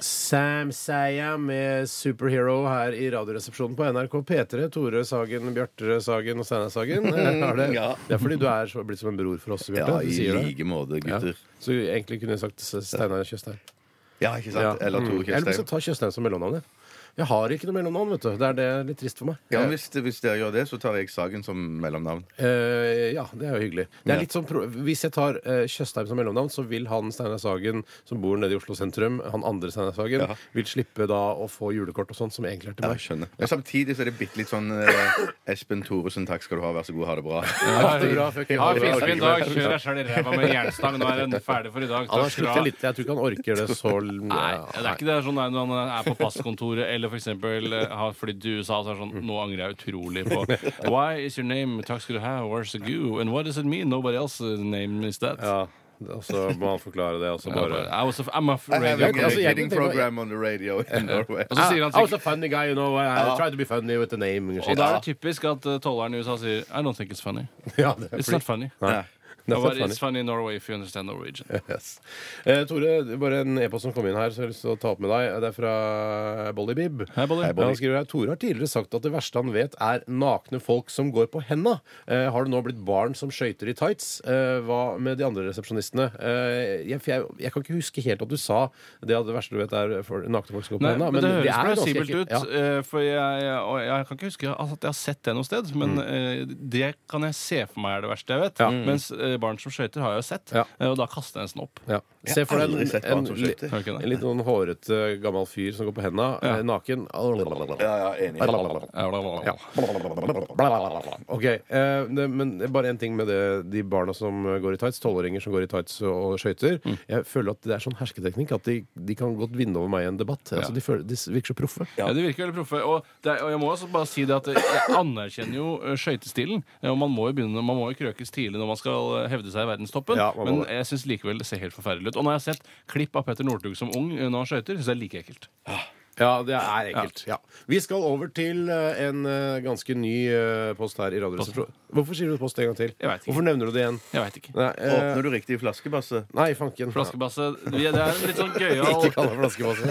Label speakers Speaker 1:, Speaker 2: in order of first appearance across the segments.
Speaker 1: Sam Saya med 'Superhero' her i Radioresepsjonen på NRK P3. Tore Sagen, Bjarte Sagen og Steinar Sagen. Eh, har Det.
Speaker 2: Ja.
Speaker 1: det er fordi du er så, blitt som en bror for oss, Bjarte.
Speaker 2: Ja,
Speaker 1: Du
Speaker 2: i
Speaker 1: sier det.
Speaker 2: like måte, gutter.
Speaker 1: Ja. Så egentlig kunne jeg sagt S- Steinar Tjøstheim.
Speaker 2: Ja, ikke sant?
Speaker 1: Ja.
Speaker 2: Eller Tore
Speaker 1: Mm. Eller så
Speaker 2: Tjøstheim.
Speaker 1: ta Tjøstheim som mellomnavn. jeg. Jeg har ikke noe mellomnavn, vet du. Det er det litt trist for meg.
Speaker 2: Ja, men hvis, hvis dere gjør det, så tar jeg Sagen som mellomnavn.
Speaker 1: Eh, ja, det er jo hyggelig. Det
Speaker 2: Ja.
Speaker 1: er litt sånn, pro- hvis jeg tar eh, Tjøstheim som mellomnavn, så vil han Steinar Sagen, som bor nede i Oslo sentrum, han andre Steinar Sagen,
Speaker 2: Ja.
Speaker 1: vil slippe da å få julekort og sånt, som egentlig er til
Speaker 2: Ja,
Speaker 1: meg.
Speaker 2: jeg skjønner. Men samtidig så er det bitte litt sånn eh, Espen Thoresen, takk skal du ha, vær så god, ha det bra.
Speaker 1: Ha det bra, fucking
Speaker 3: Ha
Speaker 1: ha
Speaker 3: en
Speaker 1: det bra.
Speaker 3: finfin dag. Kjør deg sjøl i ræva med jernstang. Nå er den ferdig for i
Speaker 1: Han
Speaker 3: dag.
Speaker 1: har
Speaker 3: Takk skal du
Speaker 1: slitt
Speaker 3: ha.
Speaker 1: litt. Jeg tror ikke han orker det så l-
Speaker 3: Nei, det er ikke det sånn når man er på passkontoret eller f.eks. har flydd til USA, så er det sånn Nå angrer jeg utrolig på Why is your name Takk skal du ha, where's the goo? And what does it mean? Nobody else's name is that.
Speaker 1: Ja, og så må han forklare det, og så
Speaker 3: Ja,
Speaker 1: bare
Speaker 3: bare, I was a, I'm a
Speaker 2: I have
Speaker 3: radio
Speaker 2: a
Speaker 1: Ja, altså, jeg-
Speaker 2: kidding program on the radio in Norway.
Speaker 3: Og så sier han
Speaker 1: I was a funny guy, you know. I tried to be funny with the name. and
Speaker 3: Og
Speaker 1: shit.
Speaker 3: da er det typisk at eh, tolleren i USA sier I don't think it's funny.
Speaker 1: Ja, det er
Speaker 3: It's
Speaker 1: fordi-
Speaker 3: not funny.
Speaker 1: Nei. Det er
Speaker 3: But
Speaker 1: funny.
Speaker 3: it's funny in Norway if you understand Norwegian.
Speaker 1: Yes. Eh, Tore, det er bare en e-post som kom inn her, så jeg har lyst til å ta opp med deg. Det er fra Bollybib.
Speaker 3: Hei, Bolly.
Speaker 1: Ja, Han skriver her Tore har tidligere sagt at det verste han vet, er nakne folk som går på henda. Eh, har det nå blitt barn som skøyter i tights? Eh, hva med de andre resepsjonistene? Eh, jeg, for jeg, jeg kan ikke huske helt at du sa det at det verste du vet, er for nakne folk som går på
Speaker 3: Nei,
Speaker 1: henda.
Speaker 3: men, det høres
Speaker 1: er ganske
Speaker 3: plausibelt
Speaker 1: ekkelt.
Speaker 3: ut. eh, For jeg, og jeg kan ikke huske altså, at jeg har sett det noe sted, men
Speaker 1: Mm.
Speaker 3: eh, det kan jeg se for meg er det verste jeg vet. Mens eh, barn som skøyter har jeg jo sett,
Speaker 1: Ja.
Speaker 3: eh, og da kaster jeg nesten opp.
Speaker 1: Ja. Ja. Se for
Speaker 2: har
Speaker 1: deg
Speaker 2: aldri sett barn
Speaker 1: en,
Speaker 2: som
Speaker 1: en,
Speaker 2: skøyter.
Speaker 3: Har du ikke det?
Speaker 1: en litt sånn hårete gammel fyr som går på henda,
Speaker 3: Ja.
Speaker 1: eh, naken.
Speaker 2: Ja, ja, enig.
Speaker 3: Ja, bla, bla, bla.
Speaker 1: Ja. Ok, eh, det- men bare en ting med det, de barna som går i tights, tolvåringer som går i tights og skøyter. Jeg føler at det er sånn hersketeknikk at de, de kan godt vinne over meg i en debatt. Altså, de, føler, de virker så proffe.
Speaker 3: Ja. De virker veldig proffe. Og, det, er- og jeg må også bare si det at jeg anerkjenner jo eh, skøytestilen. eh, Og man må jo begynne, man må jo krøkes tidlig når man skal eh, hevde seg i verdenstoppen.
Speaker 1: Ja, man må
Speaker 3: men
Speaker 1: det.
Speaker 3: jeg syns likevel det ser helt forferdelig ut. Og når jeg har sett klipp av Petter Northug som ung eh, når han skøyter, syns jeg det er like ekkelt.
Speaker 1: Ja, det er ekkelt. Ja. Vi skal over til eh, en eh, ganske ny eh, post her i Radioresepsjonen. Hvorfor sier du post en gang til?
Speaker 3: Jeg vet ikke.
Speaker 1: Hvorfor nevner du det igjen?
Speaker 3: Jeg veit ikke.
Speaker 1: Nei, eh,
Speaker 2: Åpner du riktig flaskebasse?
Speaker 1: nei fanken.
Speaker 3: Flaskebasse Det er en litt sånn
Speaker 1: Ja. Ikke
Speaker 3: gøyal
Speaker 1: kall det flaskebasse.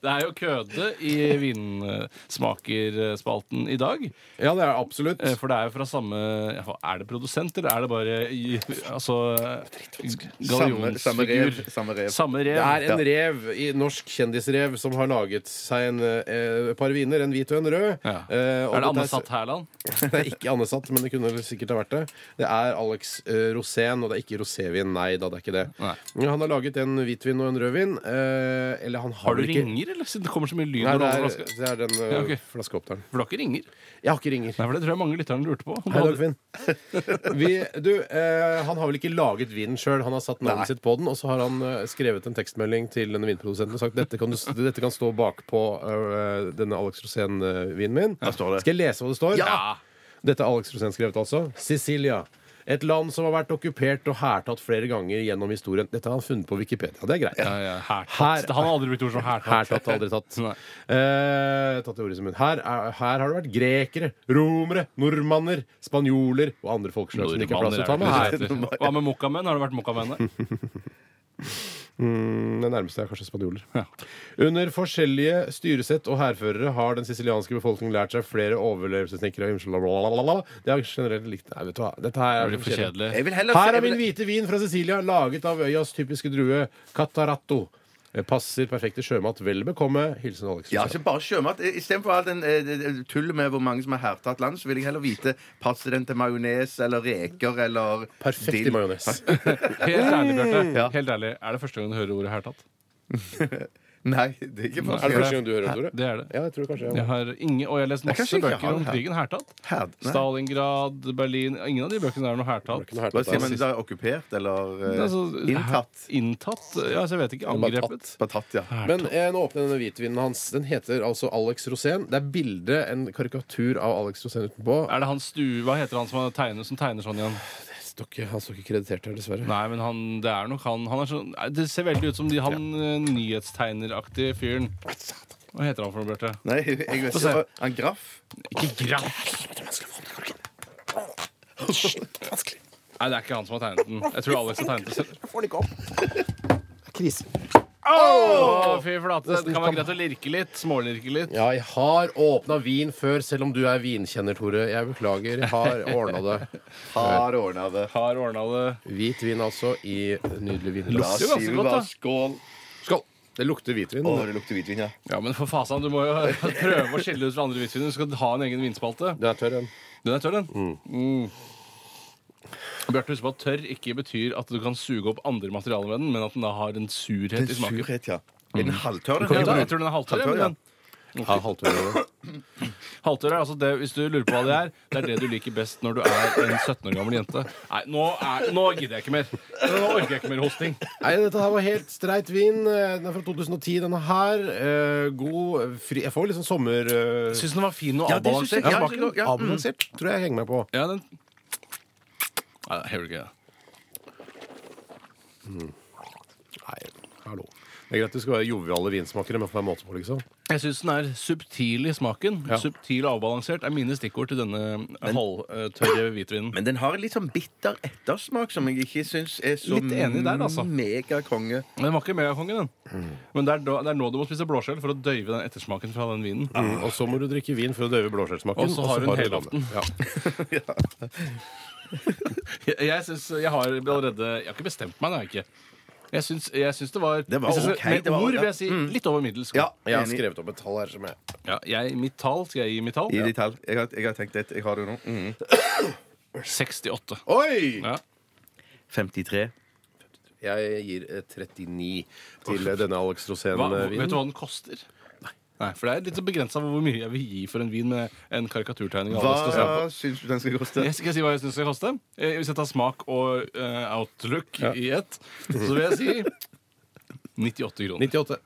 Speaker 3: Det er jo køde i vinsmakerspalten i dag.
Speaker 1: Ja, det er det absolutt.
Speaker 3: Eh, For det er jo fra samme ja, hva- Er det produsent, eller er det bare i, altså,
Speaker 2: Samme, samme rev.
Speaker 3: gallionsfigur?
Speaker 2: Samme rev.
Speaker 3: Samme rev.
Speaker 1: Det er en rev, i- norsk kjendisrev, som har laget seg en eh, par viner. En hvit og en rød.
Speaker 3: Ja.
Speaker 1: Eh, og
Speaker 3: Er det Anne
Speaker 1: er-
Speaker 3: Satt Hærland?
Speaker 1: Det er ikke Anne Satt, men det kunne vel sikkert ha vært det. Det er Alex eh, Rosén, og det er ikke rosévin. Nei da, det er ikke det.
Speaker 3: Nei.
Speaker 1: Men Han har laget en hvitvin og en rødvin. eh, eller han har,
Speaker 3: Har du
Speaker 1: vel ikke
Speaker 3: ringer, eller? Siden det kommer så mye lyd
Speaker 1: Nei,
Speaker 3: når du
Speaker 1: det er,
Speaker 3: holder flaske.
Speaker 1: det er den eh,
Speaker 3: Ja, ok.
Speaker 1: flaskeopptakeren.
Speaker 3: For du har ikke ringer? Nei,
Speaker 1: Jeg har ikke ringer.
Speaker 3: for det tror jeg mange lytterne lurte på. Om
Speaker 1: Hei,
Speaker 3: du hadde-
Speaker 1: Dagfinn. Vi, du, eh, han har vel ikke laget vinen sjøl? Han har satt navnet sitt på den, og så har han eh, skrevet en tekstmelding til denne vinprodusenten og sagt dette kan, du, dette kan stå bakpå eh, denne Alex Rosén-vinen min.
Speaker 2: står det.
Speaker 1: Skal jeg lese hva det står?
Speaker 3: Ja!
Speaker 1: Dette er Alex Rosén skrevet, altså. Sicilia. Et land som har vært okkupert og hærtatt flere ganger gjennom historien. Dette har han funnet på Wikipedia. Det er greit.
Speaker 3: Ja, ja,
Speaker 1: Her-
Speaker 3: Hærtatt. Han har aldri brukt ord som
Speaker 1: Her
Speaker 3: hærtatt.
Speaker 1: tatt, aldri tatt.
Speaker 3: Nei.
Speaker 1: Eh, tatt i ordet som hun. Her, er, her har det vært grekere, romere, nordmanner, spanjoler og andre folkeslag som det ikke er plass til å ta med
Speaker 3: Nordmann,
Speaker 1: her.
Speaker 3: er det ikke det? Hva med mokkamen? Har det vært mokkamen der?
Speaker 1: Mm, Det nærmeste er kanskje spanjoler.
Speaker 3: Ja.
Speaker 1: Under forskjellige styresett og hærførere har den sicilianske befolkningen lært seg flere overlevelsesteknikker. og himsel- blablabla. Det er generelt likt Nei, vet du hva. Dette her er
Speaker 3: Det blir for kjedelig.
Speaker 2: Jeg vil heller
Speaker 1: Her
Speaker 2: jeg
Speaker 1: er min
Speaker 2: vil-
Speaker 1: hvite vin fra Sicilia, laget av øyas typiske drue Cataratto. Eh, Passer perfekt til sjømat. Vel bekomme. Hilsen Alex.
Speaker 2: Ja, ikke bare sjømat. Istedenfor all den eh, eh, tull med hvor mange som har hertatt land, så vil jeg heller vite passer den til majones eller reker eller
Speaker 1: Perfekt
Speaker 2: dill?
Speaker 1: i majones.
Speaker 3: Helt ærlig, Bjarte. Helt ærlig, Er det første gang du hører ordet hærtatt?
Speaker 2: Nei, det er
Speaker 1: Er
Speaker 2: ikke
Speaker 1: det
Speaker 2: bare
Speaker 1: første gang du hører det, Tore?
Speaker 3: Det er det.
Speaker 1: Ja, jeg tror kanskje jeg
Speaker 3: Jeg har ingen, og jeg har lest
Speaker 2: Jeg
Speaker 3: masse
Speaker 2: kanskje ikke
Speaker 3: bøker
Speaker 2: har
Speaker 3: om
Speaker 2: her-
Speaker 3: krigen. Hærtatt.
Speaker 2: Her- nei.
Speaker 3: Stalingrad, Berlin Ingen av de bøkene er noe hærtatt.
Speaker 1: har
Speaker 2: Hva
Speaker 1: ikke
Speaker 2: sier
Speaker 1: noe
Speaker 2: man da? Okkupert eller eh,
Speaker 3: Altså,
Speaker 2: inntatt?
Speaker 3: hæ- Inntatt? Ja, altså, jeg vet ikke.
Speaker 1: bare
Speaker 3: Angrepet?
Speaker 2: Bare tatt, ja.
Speaker 1: Men eh, nå åpner jeg denne hvitvinen hans. Den heter altså Alex Rosén. Det er bilde, en karikatur av Alex Rosén utenpå.
Speaker 3: Er det han stue... Hva heter han som har tegnet som tegner sånn igjen?
Speaker 1: Det står ikke- Han står ikke kreditert her, dessverre.
Speaker 3: Nei, men han, det er nok han, han er sånn, Det ser veldig ut som de, han eh, nyhetstegneraktige fyren. Hva heter han for noe, Bjarte?
Speaker 2: Nei, jeg vet
Speaker 3: se.
Speaker 2: ikke. Han graff?
Speaker 3: Ikke Graff. Nei, det er ikke han som har tegnet den. Jeg tror Alex har tegnet det selv.
Speaker 1: Jeg får den ikke opp. Krise.
Speaker 3: Å, fy flate. Det
Speaker 1: Nesten
Speaker 3: kan være
Speaker 1: kan-
Speaker 3: greit å lirke litt. Smålirke litt.
Speaker 1: Ja, jeg har åpna vin før, selv om du er vinkjenner, Tore. Jeg beklager. Jeg har ordna det.
Speaker 2: Har ordna det.
Speaker 3: Har ordna det.
Speaker 1: Hvit vin, altså, i nydelig
Speaker 2: Da
Speaker 1: vinglass.
Speaker 3: jo ganske
Speaker 2: sier vi
Speaker 3: godt,
Speaker 2: bare
Speaker 3: da.
Speaker 2: skål.
Speaker 1: Skål! Det lukter hvitvin.
Speaker 2: Å, det lukter hvitvin, ja.
Speaker 3: Ja, men for fasen, du må jo prøve å skille ut fra andre vitsviner. Du skal ha en egen vinspalte.
Speaker 1: Den er tørr, den.
Speaker 3: Den er tørr, den. Mm. Bjarte, husk på at tørr ikke betyr at du kan suge opp andre materialer med den, men at den da har en surhet i smaken.
Speaker 2: surhet, ja. Er den halvtørr?
Speaker 3: Ja,
Speaker 2: den?
Speaker 3: da, jeg tror den er halvtørr.
Speaker 2: Halvtørr, ja.
Speaker 3: ja, men
Speaker 1: Ja, halvtørr er det.
Speaker 3: Halvtørr er altså det, hvis du lurer på hva det er, det er det du liker best når du er en 17 år gammel jente. Nei, nå, er, nå gidder jeg ikke mer. Nå orker jeg ikke mer hosting.
Speaker 1: Nei, dette her var helt streit vin. Eh, Den er fra 2010, denne her. Eh, god fri... Jeg får litt sånn sommer... eh,
Speaker 3: Jeg syns den var fin og
Speaker 2: Ja, det synes jeg.
Speaker 3: avbalansert.
Speaker 1: ja,
Speaker 2: Ja,
Speaker 1: smaken
Speaker 2: ja, mm.
Speaker 1: avbalansert, tror jeg jeg henger meg på.
Speaker 3: Ja, den Nei, det hører du ikke.
Speaker 1: Nei, hallo. Det er greit vi skal være joviale vinsmakere, men på en måte på, liksom.
Speaker 3: Jeg syns den er subtil i smaken.
Speaker 1: Ja.
Speaker 3: Subtil og avbalansert er mine stikkord til denne eh, halvtørre hvitvinen.
Speaker 2: Men den har en litt sånn bitter ettersmak som jeg ikke syns er så
Speaker 3: Litt enig der, altså.
Speaker 2: megakonge.
Speaker 3: Den var ikke megakongen, den.
Speaker 2: Mm.
Speaker 3: Men det er, da, det er nå du må spise blåskjell for å døyve den ettersmaken fra den vinen.
Speaker 1: Mm. Og så må du drikke vin for å døyve blåskjellsmaken.
Speaker 3: Og så har hun helaften.
Speaker 1: Ja.
Speaker 3: Jeg, jeg, synes, jeg har allerede Jeg har ikke bestemt meg, det har jeg ikke. Jeg syns, jeg syns det var,
Speaker 2: Det var
Speaker 3: jeg syns
Speaker 2: ok,
Speaker 3: Med
Speaker 2: det var-
Speaker 3: ord
Speaker 2: ja.
Speaker 3: vil
Speaker 2: Mm.
Speaker 3: jeg si litt over middels.
Speaker 2: Ja,
Speaker 1: Jeg har
Speaker 2: enig.
Speaker 1: skrevet opp et tall her som jeg
Speaker 3: Ja, jeg, mitt tall skal jeg gi mitt tall.
Speaker 2: I ditt tall. Jeg, har- jeg har tenkt et. Jeg har det nå. Mm.
Speaker 3: 68.
Speaker 1: Oi!
Speaker 3: Ja.
Speaker 2: 53.
Speaker 1: Jeg gir eh, 39 til eh, denne Alex eh,
Speaker 2: eh,
Speaker 3: Hva, vet du
Speaker 1: Rosén-vinen.
Speaker 3: hva den koster? Nei, for det er litt begrensa hvor mye jeg vil gi for en vin med en karikaturtegning. av Alex Rosén på.
Speaker 2: Hva syns du den skal koste?
Speaker 3: Jeg skal jeg si hva jeg syns det skal koste? Eh, Hvis jeg tar smak og eh, outlook i- i ett, så vil jeg si 98 kroner.
Speaker 1: 98.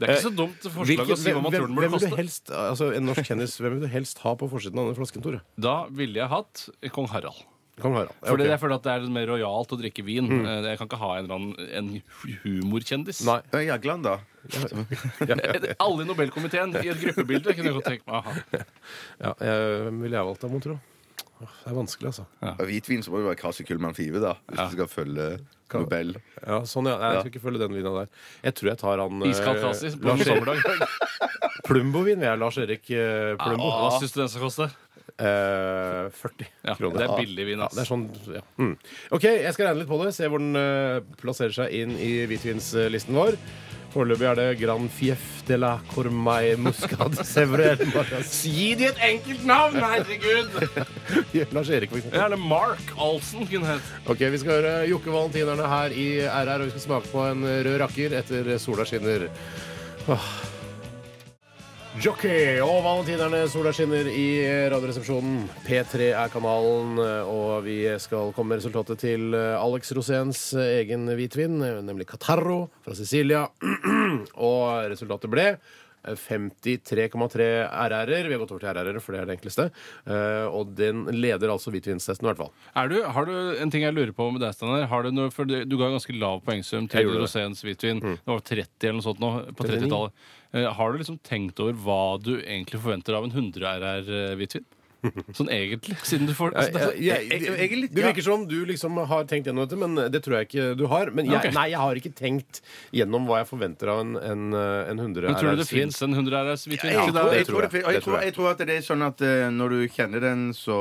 Speaker 3: Det er ikke så dumt forslag å
Speaker 1: Hvilken-
Speaker 3: si hva man tror den burde
Speaker 1: hvem vil du
Speaker 3: koste.
Speaker 1: helst, altså en norsk kjendis, hvem vil du helst ha på forsiden av denne flasken, Tore?
Speaker 3: Da ville jeg hatt kong Harald.
Speaker 1: Kong Harald. Ja,
Speaker 3: Fordi
Speaker 1: ok. Mm.
Speaker 3: Jeg føler at det er mer rojalt å drikke vin. Eh, Jeg kan ikke ha en, eller annen, en humorkjendis.
Speaker 1: Nei.
Speaker 2: Ja, Jagland, da.
Speaker 3: Alle i Nobelkomiteen i et gruppebilde kunne jeg godt tenke meg å ha.
Speaker 1: Ja, jeg, hvem ville jeg valgt, da, mon tro? Åh, Det er vanskelig, altså.
Speaker 2: Og Hvitvin så må det være Kasi Kullmann Five, da. Hvis du skal følge Nobel.
Speaker 1: Ja, sånn, ja. Nei, Jeg skal ikke følge den vina der. Jeg tror jeg tar han eh,
Speaker 3: Iskald Kasi på en
Speaker 1: Lars Erik
Speaker 3: sommerdag.
Speaker 1: Plumbo-vin. Jeg er Lars Erik eh, Plumbo.
Speaker 3: Hva syns du den skal koste?
Speaker 1: Eh, 40
Speaker 3: Ah. Ja,
Speaker 1: kroner.
Speaker 3: det er billig vin,
Speaker 1: Ja,
Speaker 3: ass.
Speaker 1: det er sånn, ja. mm. OK, jeg skal regne litt på det. Se hvor den eh, plasserer seg inn i hvitvinslisten vår. Foreløpig er det Grand Fief de la Cormaille Muscade Sevrel.
Speaker 3: Gi de et enkelt navn, herregud!
Speaker 1: Lars Erik, for eksempel.
Speaker 3: Gjerne Mark Olsen kunne hett.
Speaker 1: Ok, Vi skal høre Jokke Valentinerne her i RR, og vi skal smake på en rød rakker etter Sola skinner. Åh. Jockey og Valentinerne, Sola skinner i Radioresepsjonen. P3 er kanalen, og vi skal komme med resultatet til Alex Roséns egen hvitvin, nemlig Catarro fra Sicilia. Og resultatet ble 53,3 RR-er. Vi har gått over til RR-er, for det er det enkleste. Eh, Og den leder altså hvitvinstesten, i hvert fall.
Speaker 3: Er du, har du en ting jeg lurer på med deg, Steinar? Har Du noe, for du, du ga ganske lav poengsum
Speaker 1: Jeg
Speaker 3: til
Speaker 1: gjorde det. Mm.
Speaker 3: Roséns hvitvin. Det var 30 eller noe sånt nå, på
Speaker 1: 39.
Speaker 3: 30-tallet. Eh, har du liksom tenkt over hva du egentlig forventer av en 100 RR-hvitvin? Sånn egentlig, siden du får
Speaker 1: Jeg-
Speaker 3: altså, det,
Speaker 1: jeg- jeg- jeg- jeg- Det virker som du liksom har tenkt gjennom dette, men eh, det tror jeg ikke du har. Men jeg,
Speaker 3: Ok.
Speaker 1: nei, jeg har ikke tenkt gjennom hva jeg forventer av en, en, eh, en 100
Speaker 3: Men tror du det
Speaker 1: RR-svin.
Speaker 3: fins en 100 RR-hvitvin?
Speaker 2: Jeg tror- jeg
Speaker 1: det tror
Speaker 2: tror
Speaker 1: jeg.
Speaker 2: det- og jeg
Speaker 1: Det tror
Speaker 2: tror-
Speaker 1: jeg.
Speaker 2: jeg tror at det er sånn at eh, når du kjenner den, så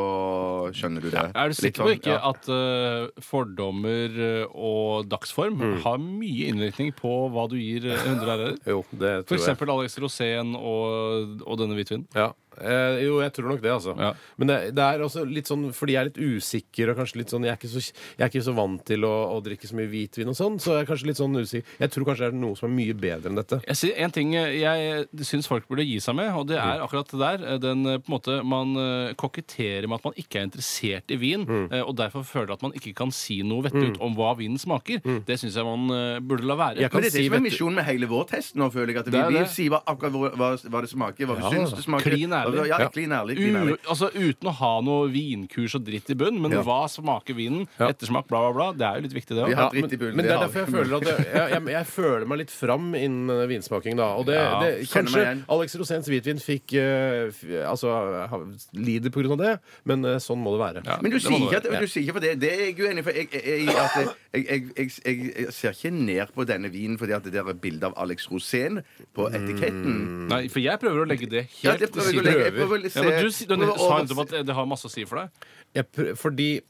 Speaker 2: skjønner du det.
Speaker 3: Er du
Speaker 2: Litt
Speaker 3: sikker på
Speaker 2: sånn,
Speaker 3: ikke
Speaker 2: ja.
Speaker 3: at eh, fordommer eh, og dagsform har mye innvirkning på hva du gir eh, 100 RR-er?
Speaker 1: Jo, det
Speaker 3: For
Speaker 1: Mm. tror jeg.
Speaker 3: eksempel Alex Rosén og, og denne hvitvinen.
Speaker 1: Ja. Eh, jo, jeg tror nok det, altså.
Speaker 3: Ja.
Speaker 1: Men det, det er også litt sånn fordi jeg er litt usikker, og kanskje litt sånn Jeg er ikke så, jeg er ikke så vant til å, å drikke så mye hvitvin og sånn, så jeg er kanskje litt sånn usikker. Jeg tror kanskje det er noe som er mye bedre enn dette.
Speaker 3: Jeg sier en ting jeg syns folk burde gi seg med, og det
Speaker 2: Mm.
Speaker 3: er akkurat det der. Den eh, på en måte Man eh, koketterer med at man ikke er interessert i vin,
Speaker 2: Mm.
Speaker 3: eh, og derfor føler at man ikke kan si noe vettug om hva vinen smaker.
Speaker 2: Mm.
Speaker 3: Det syns jeg man eh, burde la være.
Speaker 1: Jeg
Speaker 2: Men
Speaker 1: kan
Speaker 2: det er
Speaker 1: si,
Speaker 2: det som er
Speaker 1: vet du-
Speaker 2: misjonen med hele vår test nå, føler jeg. At
Speaker 3: Det er
Speaker 2: vi, vi
Speaker 3: det.
Speaker 2: sier hva, akkurat hva, hva, hva det smaker, hva vi syns det smaker.
Speaker 3: Klin ærlig.
Speaker 2: Ja,
Speaker 1: Ja.
Speaker 2: klin ærlig. Klin
Speaker 3: U,
Speaker 2: ærlig.
Speaker 3: altså Uten å ha noe vinkurs og dritt i bunn, men
Speaker 2: Ja.
Speaker 3: hva smaker vinen?
Speaker 1: Ja.
Speaker 3: Ettersmak, bla, bla, bla. Det er jo litt viktig, det
Speaker 2: Vi
Speaker 3: òg.
Speaker 1: Ja,
Speaker 2: har dritt i
Speaker 1: men,
Speaker 2: bullen.
Speaker 1: men det er
Speaker 2: vi har-
Speaker 1: derfor jeg føler at jeg, jeg, jeg, jeg føler meg litt fram innen eh, vinsmaking, da. Og det,
Speaker 3: Ja,
Speaker 1: det,
Speaker 2: kjenner meg
Speaker 1: kanskje
Speaker 2: igjen.
Speaker 1: Alex Rosens hvitvin fikk eh, f, Altså ha, lider på grunn av det, men eh, sånn må det være.
Speaker 3: Ja.
Speaker 2: Men du
Speaker 3: Det må
Speaker 2: sier
Speaker 3: det
Speaker 2: ikke at
Speaker 3: være.
Speaker 2: du sier ikke for det, det er jeg uenig i. For jeg, jeg, jeg, at jeg, jeg, jeg, jeg, jeg ser ikke ned på denne vinen fordi at det der er bilde av Alex Rosén på etiketten.
Speaker 3: Nei, for jeg prøver å legge det helt
Speaker 2: Ja, det
Speaker 3: til
Speaker 2: prøver jeg å
Speaker 3: siden.
Speaker 2: legge- jeg prøver å
Speaker 3: Ja, men du,
Speaker 2: se-
Speaker 3: si- du,
Speaker 2: prøver å
Speaker 3: sa
Speaker 2: overse-
Speaker 3: nettopp at det har masse å si for deg.
Speaker 1: Jeg prø fordi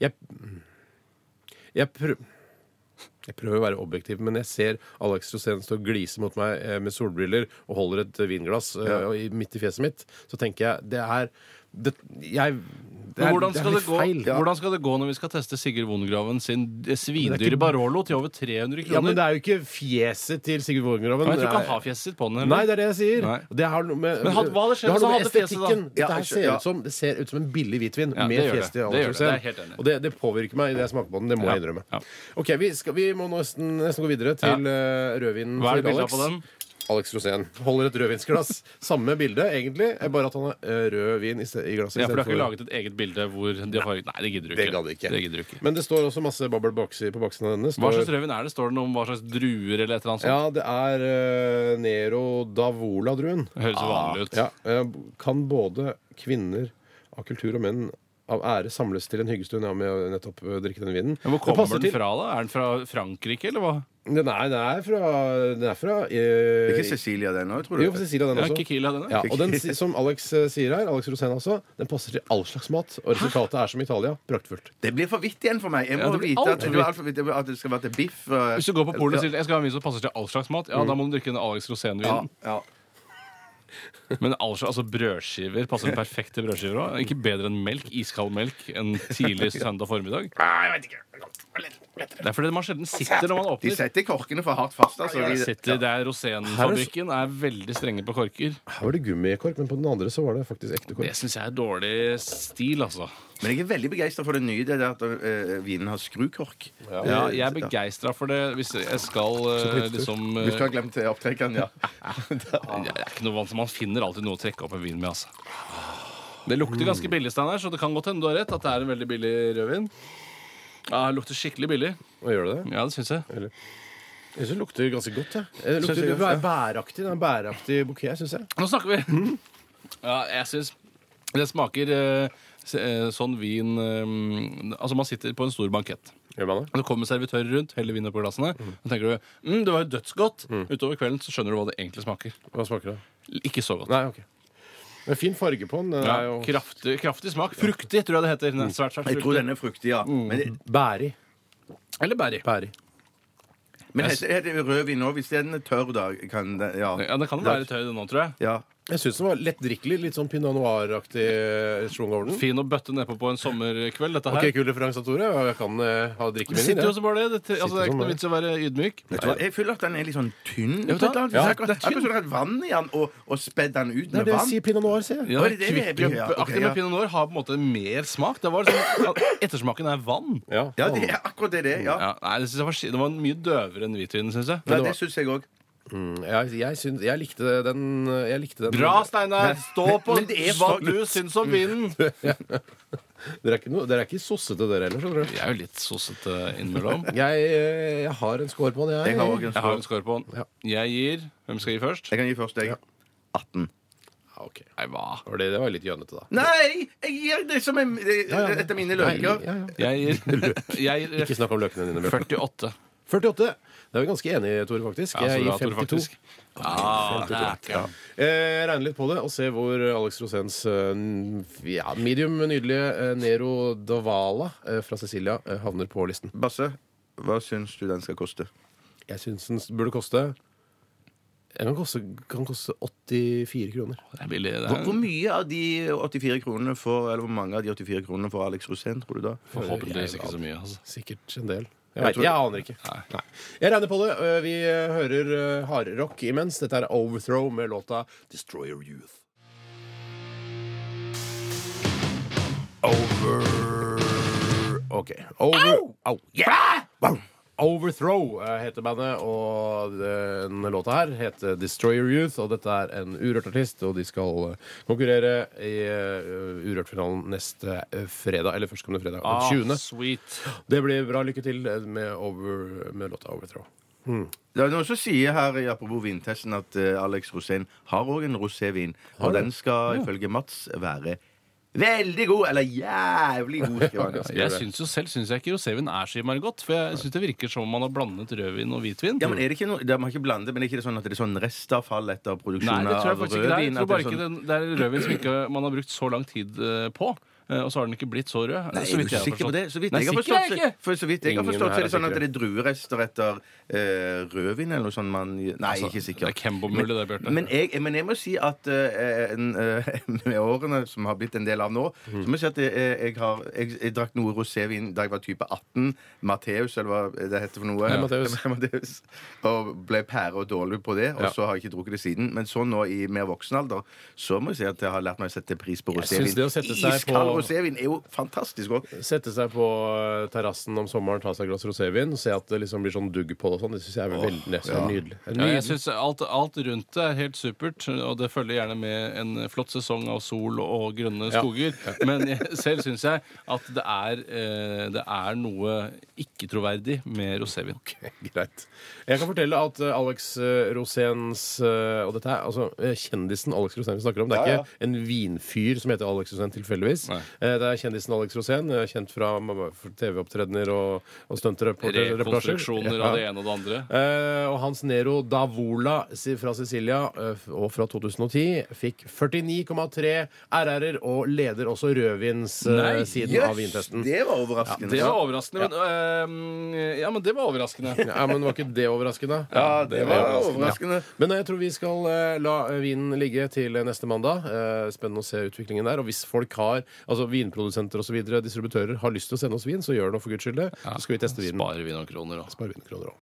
Speaker 1: jeg, jeg, prø jeg prøver å være objektiv, men jeg ser Alex Rosén stå og glise mot meg eh, med solbriller og holder et eh, vinglass eh, og i- midt i fjeset mitt. Så tenker jeg det er det, jeg, det
Speaker 3: Men
Speaker 1: er,
Speaker 3: hvordan
Speaker 1: det
Speaker 3: skal
Speaker 1: er
Speaker 3: det,
Speaker 1: litt
Speaker 3: gå,
Speaker 1: feil.
Speaker 3: hvordan skal det gå når vi skal teste Sigurd Vongraven sin eh,
Speaker 1: Det er
Speaker 3: svindyre
Speaker 1: ikke-
Speaker 3: Barolo til over 300
Speaker 1: Ja, men
Speaker 3: kroner?
Speaker 1: det er jo ikke fjeset til Sigurd Vågengraven.
Speaker 3: Men jeg tror ikke han har fjeset sitt på den. eller?
Speaker 1: Nei, det er det jeg sier.
Speaker 3: Nei.
Speaker 1: Det har noe med,
Speaker 3: Men hadde- hva hadde skjedd
Speaker 1: det har
Speaker 3: hvis
Speaker 1: noe
Speaker 3: han
Speaker 1: med
Speaker 3: hadde fjeset, da?
Speaker 1: estetikken.
Speaker 2: Ja,
Speaker 1: Dette her
Speaker 2: unnskyld,
Speaker 1: ser,
Speaker 2: ja.
Speaker 1: ut som, det ser ut som en billig hvitvin
Speaker 3: Ja,
Speaker 1: med
Speaker 3: det gjør det.
Speaker 1: fjes til
Speaker 3: Det
Speaker 1: Alex Rosén.
Speaker 3: gjør det. Det er jeg helt enig i.
Speaker 1: Og det, det påvirker meg idet jeg smaker på den. Det må
Speaker 3: Ja.
Speaker 1: jeg innrømme.
Speaker 3: Ja.
Speaker 1: Ok, Vi, skal, vi må nesten, nesten gå videre til eh, rødvinen
Speaker 3: Hva er
Speaker 1: til
Speaker 3: bildet
Speaker 1: Alex.
Speaker 3: på den?
Speaker 1: Alex Rosén holder et rødvinsglass. Samme bilde, egentlig, eh, bare at han har eh, rød vin i, ste- i glasset.
Speaker 3: Ja, for du har ikke
Speaker 1: istedenfor-
Speaker 3: laget et eget bilde hvor de har farget Nei, det gidder du ikke.
Speaker 1: Det gadd jeg ikke.
Speaker 3: Det gidder du ikke.
Speaker 1: Men det står også masse babbel baksi- på baksiden av denne.
Speaker 3: Hva
Speaker 1: Står-
Speaker 3: slags rødvin er det? Står det noe om hva slags druer eller et eller annet sånt?
Speaker 1: Ja, det er eh, Nero Davola-druen.
Speaker 3: Det høres jo vanlig ut.
Speaker 1: Ja, eh, kan både kvinner av kultur og menn av ære samles til en hyggestund ja, med å nettopp eh, drikke denne vinen?
Speaker 3: Men hvor
Speaker 1: Det
Speaker 3: kommer
Speaker 1: passer
Speaker 3: den
Speaker 1: til-
Speaker 3: fra, da? Er den fra Frankrike, eller hva?
Speaker 1: Den er, den er fra, den er fra
Speaker 2: Det
Speaker 1: eh,
Speaker 2: er ikke Cecilia den òg, tror du?
Speaker 1: Jo, for Cecilia, den
Speaker 3: Ja,
Speaker 1: også.
Speaker 3: Kikila, denne?
Speaker 1: Ja, og den, si- som Alex eh, sier her, Alex Rosén også, den passer til all slags mat. Og resultatet er som Italia. Praktfullt.
Speaker 2: Det blir for vidt igjen for meg. Jeg må
Speaker 3: Ja, det blir
Speaker 2: vite at,
Speaker 3: alt for
Speaker 2: du er alt for vidt. at det skal være til biff. og-
Speaker 3: Hvis du går på polet og sier jeg skal ha en vin som passer til all slags mat,
Speaker 1: Mm.
Speaker 3: ja, da må du drikke den Alex Rosén-vinen.
Speaker 2: Ja.
Speaker 3: Men all slags, altså brødskiver passer perfekt til brødskiver òg. Ikke bedre enn melk, iskald melk, en tidlig søndag formiddag. Det er fordi man sjelden sitter når man
Speaker 2: De
Speaker 3: åpner.
Speaker 2: setter korkene for hardt fast. Altså.
Speaker 3: Det
Speaker 2: De,
Speaker 3: Sitter, det er Rosén-fabrikken er veldig strenge på korker.
Speaker 1: Her var det gummikork, men på den andre så var det faktisk ekte
Speaker 3: Det
Speaker 1: kork.
Speaker 3: syns jeg er dårlig stil, altså.
Speaker 2: men jeg er veldig begeistra for det nye, det der at eh, vinen har skrukork. Eh,
Speaker 3: Ja, jeg er begeistra for det hvis jeg skal eh, liksom eh,
Speaker 2: Hvis du har glemt eh, opptrekkeren, ja.
Speaker 3: Det er ikke noe vanskelig. Man finner alltid noe å trekke opp en vin med, altså.
Speaker 2: Ah.
Speaker 3: Det lukter ganske billig, Steinar, så det kan godt hende du har rett at det er en veldig billig rødvin. Ja, det lukter skikkelig billig.
Speaker 1: Og gjør det det?
Speaker 3: Ja, det syns jeg.
Speaker 1: Jeg syns det lukter ganske godt. Jeg. Det Eh, lukter
Speaker 2: jeg
Speaker 1: det
Speaker 2: også,
Speaker 1: er bæraktig. Det er en bæraktig bouquet, syns jeg.
Speaker 3: Nå snakker vi!
Speaker 1: Mm.
Speaker 3: Ja, jeg syns det smaker eh, s- eh, sånn vin eh, Altså, man sitter på en stor bankett.
Speaker 1: Gjør man det?
Speaker 3: Og Det kommer servitører rundt, heller vin på glassene. Så tenker du mm, det var jo dødsgodt. Utover kvelden så skjønner du hva det egentlig smaker.
Speaker 1: Hva smaker det?
Speaker 3: Ikke så godt.
Speaker 1: Nei, ok. Det er fin farge på den. den er
Speaker 3: Ja,
Speaker 1: jo Mm.
Speaker 3: kraftig, kraftig smak. Fruktig, tror jeg det heter. Nei, Svært, svært
Speaker 2: Jeg tror
Speaker 3: fruktig.
Speaker 2: den er fruktig,
Speaker 3: Mm.
Speaker 2: ja. Men, det-
Speaker 1: Bæri.
Speaker 3: Eller bærig.
Speaker 1: Bæri.
Speaker 2: men heter heter det rødvin òg? Hvis den er tørr, da kan det Ja.
Speaker 3: Ja, Det kan være tøy nå, tror jeg.
Speaker 2: ja.
Speaker 1: Jeg syns den var lettdrikkelig. Litt sånn pinot noir-aktig eh, schwung over den.
Speaker 3: Fin å bøtte nedpå på en sommerkveld, dette her.
Speaker 1: Ok, Kul referanse, Tore. Ja, Jeg kan eh, ha drikke
Speaker 3: Det
Speaker 1: min.
Speaker 3: sitter jo så bare det. det altså,
Speaker 1: Sitter
Speaker 3: det er ikke
Speaker 1: som
Speaker 3: noe
Speaker 1: det.
Speaker 3: vits i å være ydmyk.
Speaker 2: Vet du hva, Jeg føler at den er litt sånn tynn.
Speaker 3: Ja,
Speaker 2: Ja,
Speaker 3: vet du hva?
Speaker 2: det er
Speaker 3: Ja, det er tynn.
Speaker 2: akkurat som vann i den, og, og spedd den ut
Speaker 1: Det er
Speaker 2: med
Speaker 1: det
Speaker 2: vann.
Speaker 1: sier pinot noir, sier jeg.
Speaker 3: Ja,
Speaker 2: Oi, det er det jeg blir- ja, ok,
Speaker 3: Kvikkproppeaktig
Speaker 2: ja.
Speaker 3: med pinot noir har på en måte mer smak. Det var liksom, ettersmaken er vann.
Speaker 1: Ja,
Speaker 2: Ja, det er akkurat det det er. Ja.
Speaker 3: Ja, nei, det, synes jeg var, sk- det var mye døvere enn hvitvinen, syns jeg.
Speaker 2: Nei, det syns jeg òg.
Speaker 1: Mm, jeg, jeg, syns- jeg likte den. Jeg likte den.
Speaker 3: Bra, Steinar! Stå på
Speaker 2: men det er
Speaker 3: hva
Speaker 2: så-
Speaker 3: du syns om vinen! Jeg
Speaker 1: Dere er ikke, noe- dere er ikke sossete, dere heller. skjønner du.
Speaker 3: er jo litt sossete innimellom.
Speaker 1: Jeg, eh, jeg har en score på den, jeg.
Speaker 2: Jeg har òg en
Speaker 3: Jeg har en
Speaker 2: skål.
Speaker 3: score på
Speaker 1: Ja.
Speaker 3: den. Jeg gir Hvem skal gi først?
Speaker 2: Jeg kan gi først, jeg. 18.
Speaker 1: Ja, ok. Det
Speaker 3: Nei, hva?
Speaker 1: var det, det var litt gjønete, da.
Speaker 2: Nei! Jeg gir det som en, det,
Speaker 1: Ja, ja.
Speaker 2: etter
Speaker 1: Nei,
Speaker 2: mine løker.
Speaker 1: ja, ja.
Speaker 3: Jeg gir, jeg gir
Speaker 1: Ikke snakk om løkene dine. Bjørn.
Speaker 3: 48.
Speaker 1: 48. Det er vi ganske enige, Tore, faktisk.
Speaker 3: Ja, så
Speaker 1: Jeg
Speaker 3: bra,
Speaker 1: gir
Speaker 3: Tore,
Speaker 1: 52.
Speaker 3: faktisk. Ah, det er ikke
Speaker 1: Eh, regner litt på det og ser hvor Alex Rosens eh, ja, medium nydelige eh, Nero Davala eh, fra Cecilia eh, havner på listen.
Speaker 2: Basse, hva syns du den skal koste?
Speaker 1: Jeg syns den burde koste Den kan koste, kan koste 84 kroner.
Speaker 3: Det er billig. Det
Speaker 2: Hvor, hvor
Speaker 3: er
Speaker 2: mye av de 84 kronene får, eller hvor mange av de 84 kronene får Alex Rosén, tror du da?
Speaker 3: forhåpentligvis ikke så mye. Altså.
Speaker 1: Sikkert en del. Jeg,
Speaker 2: Jeg
Speaker 1: vet,
Speaker 2: tror-
Speaker 1: jeg aner ikke.
Speaker 3: Nei.
Speaker 1: Nei. Jeg regner på det. Eh, Vi eh, hører eh, hardrock imens. Dette er Overthrow med låta 'Destroy Your Youth'. Over OK. Over Au! Yeah! Wow. Overthrow eh, heter bandet, og den låta her heter Destroyer Youth. Og dette er en urørt artist, og de skal eh, konkurrere i eh, Urørt-finalen neste eh, fredag. Eller førstkommende fredag.
Speaker 3: Ah,
Speaker 1: Den 20.
Speaker 3: sweet.
Speaker 1: Det blir bra. Lykke til eh, med, over, med låta Overthrow.
Speaker 2: Det er noen som sier her i apropos vintesten at eh, Alex Rosén har òg en rosévin. Og den skal ifølge Mats være veldig god. Eller jævlig god, skriver han.
Speaker 3: Jeg syns jo selv syns jeg ikke rosévin er så innmari godt, for jeg syns det virker som om man har blandet rødvin og hvitvin.
Speaker 2: Ja, men er det ikke noe, de har ikke blandet, men er det ikke sånn at det er sånn restavfall etter
Speaker 3: Nei,
Speaker 2: produksjonen
Speaker 3: det tror jeg
Speaker 2: av
Speaker 3: faktisk ikke det er. Jeg
Speaker 2: rødvin?
Speaker 3: tror
Speaker 2: at
Speaker 3: bare
Speaker 2: det er
Speaker 3: ikke
Speaker 2: sånn-
Speaker 3: den, det er rødvin som ikke man har brukt så lang tid eh, på. eh, Og så har den ikke blitt så rød.
Speaker 2: Nei,
Speaker 3: så
Speaker 2: er du
Speaker 3: vidt jeg har
Speaker 2: sikker på
Speaker 3: forstått.
Speaker 2: det? Så vidt
Speaker 3: Nei,
Speaker 2: jeg har
Speaker 3: sikker er
Speaker 2: forstått,
Speaker 3: jeg
Speaker 2: så,
Speaker 3: ikke!
Speaker 2: for, så vidt jeg har
Speaker 1: Ingen
Speaker 2: forstått
Speaker 1: her
Speaker 2: så er det
Speaker 1: er
Speaker 2: sånn at det er druerester etter eh, rødvin eller noe sånt man Nei,
Speaker 3: Altså,
Speaker 2: ikke
Speaker 3: Det
Speaker 2: sikkert.
Speaker 3: er Kembo-mulig, det, Bjarte.
Speaker 2: Men jeg, men jeg må si at eh, en, eh, med årene som har blitt en del av nå Så må jeg si at jeg, jeg, har, jeg, jeg drakk noe rosévin da jeg var type 18. Matteus, eller hva det heter for noe.
Speaker 1: Ja, Matteus.
Speaker 2: Matteus. Og ble pære og dårlig på det, og
Speaker 1: Ja.
Speaker 2: så har jeg ikke drukket det siden. Men så nå i mer voksen alder, så må jeg si at jeg har lært meg å sette pris på rosévin.
Speaker 1: synes det å sette seg
Speaker 2: Iskald
Speaker 1: på-
Speaker 2: rosévin er jo fantastisk godt.
Speaker 1: Sette seg på eh, terrassen om sommeren, ta seg et glass rosévin, se at det liksom blir sånn dugg på det og sånn. Det syns jeg er veldig det synes jeg er nydelig.
Speaker 3: Ja, jeg synes alt, alt rundt det er helt supert, og det følger gjerne med en flott sesong av sol og grønne skoger. Men jeg, selv syns jeg at det er, eh, det er noe ikke-troverdig med rosévin.
Speaker 1: Greit. Jeg kan fortelle at eh, Alex eh, Roséns eh, Og dette er altså eh, kjendisen Alex Rosén vi snakker om. Det er
Speaker 2: Ja, ja.
Speaker 1: ikke en vinfyr som heter Alex Rosén tilfeldigvis.
Speaker 3: Nei.
Speaker 1: Eh, Det er kjendisen Alex Rosén, eh, kjent fra ma- for TV-opptredener og, og stuntreportasjer.
Speaker 3: Rekonstruksjoner av det ene og det andre.
Speaker 1: Eh, og Hans Nero Davola si- fra Sicilia eh, f- og fra 2010 fikk 49,3 RR-er og leder også
Speaker 3: Nei,
Speaker 1: rødvinssiden av vintesten.
Speaker 2: det var overraskende.
Speaker 3: Det var overraskende. Men, eh, ja, men det var overraskende.
Speaker 1: Ja, men Var ikke det overraskende?
Speaker 2: Ja, det var overraskende.
Speaker 1: Ja. Men jeg tror vi skal eh, la vinen ligge til neste mandag. Eh, spennende å se utviklingen der. Og hvis folk har, altså vinprodusenter osv., distributører, har lyst til å sende oss vin, så gjør det nå for guds skyld det. Så skal vi teste vinen.
Speaker 3: Bare vin og kroner, da.
Speaker 1: Spar vinkroner også.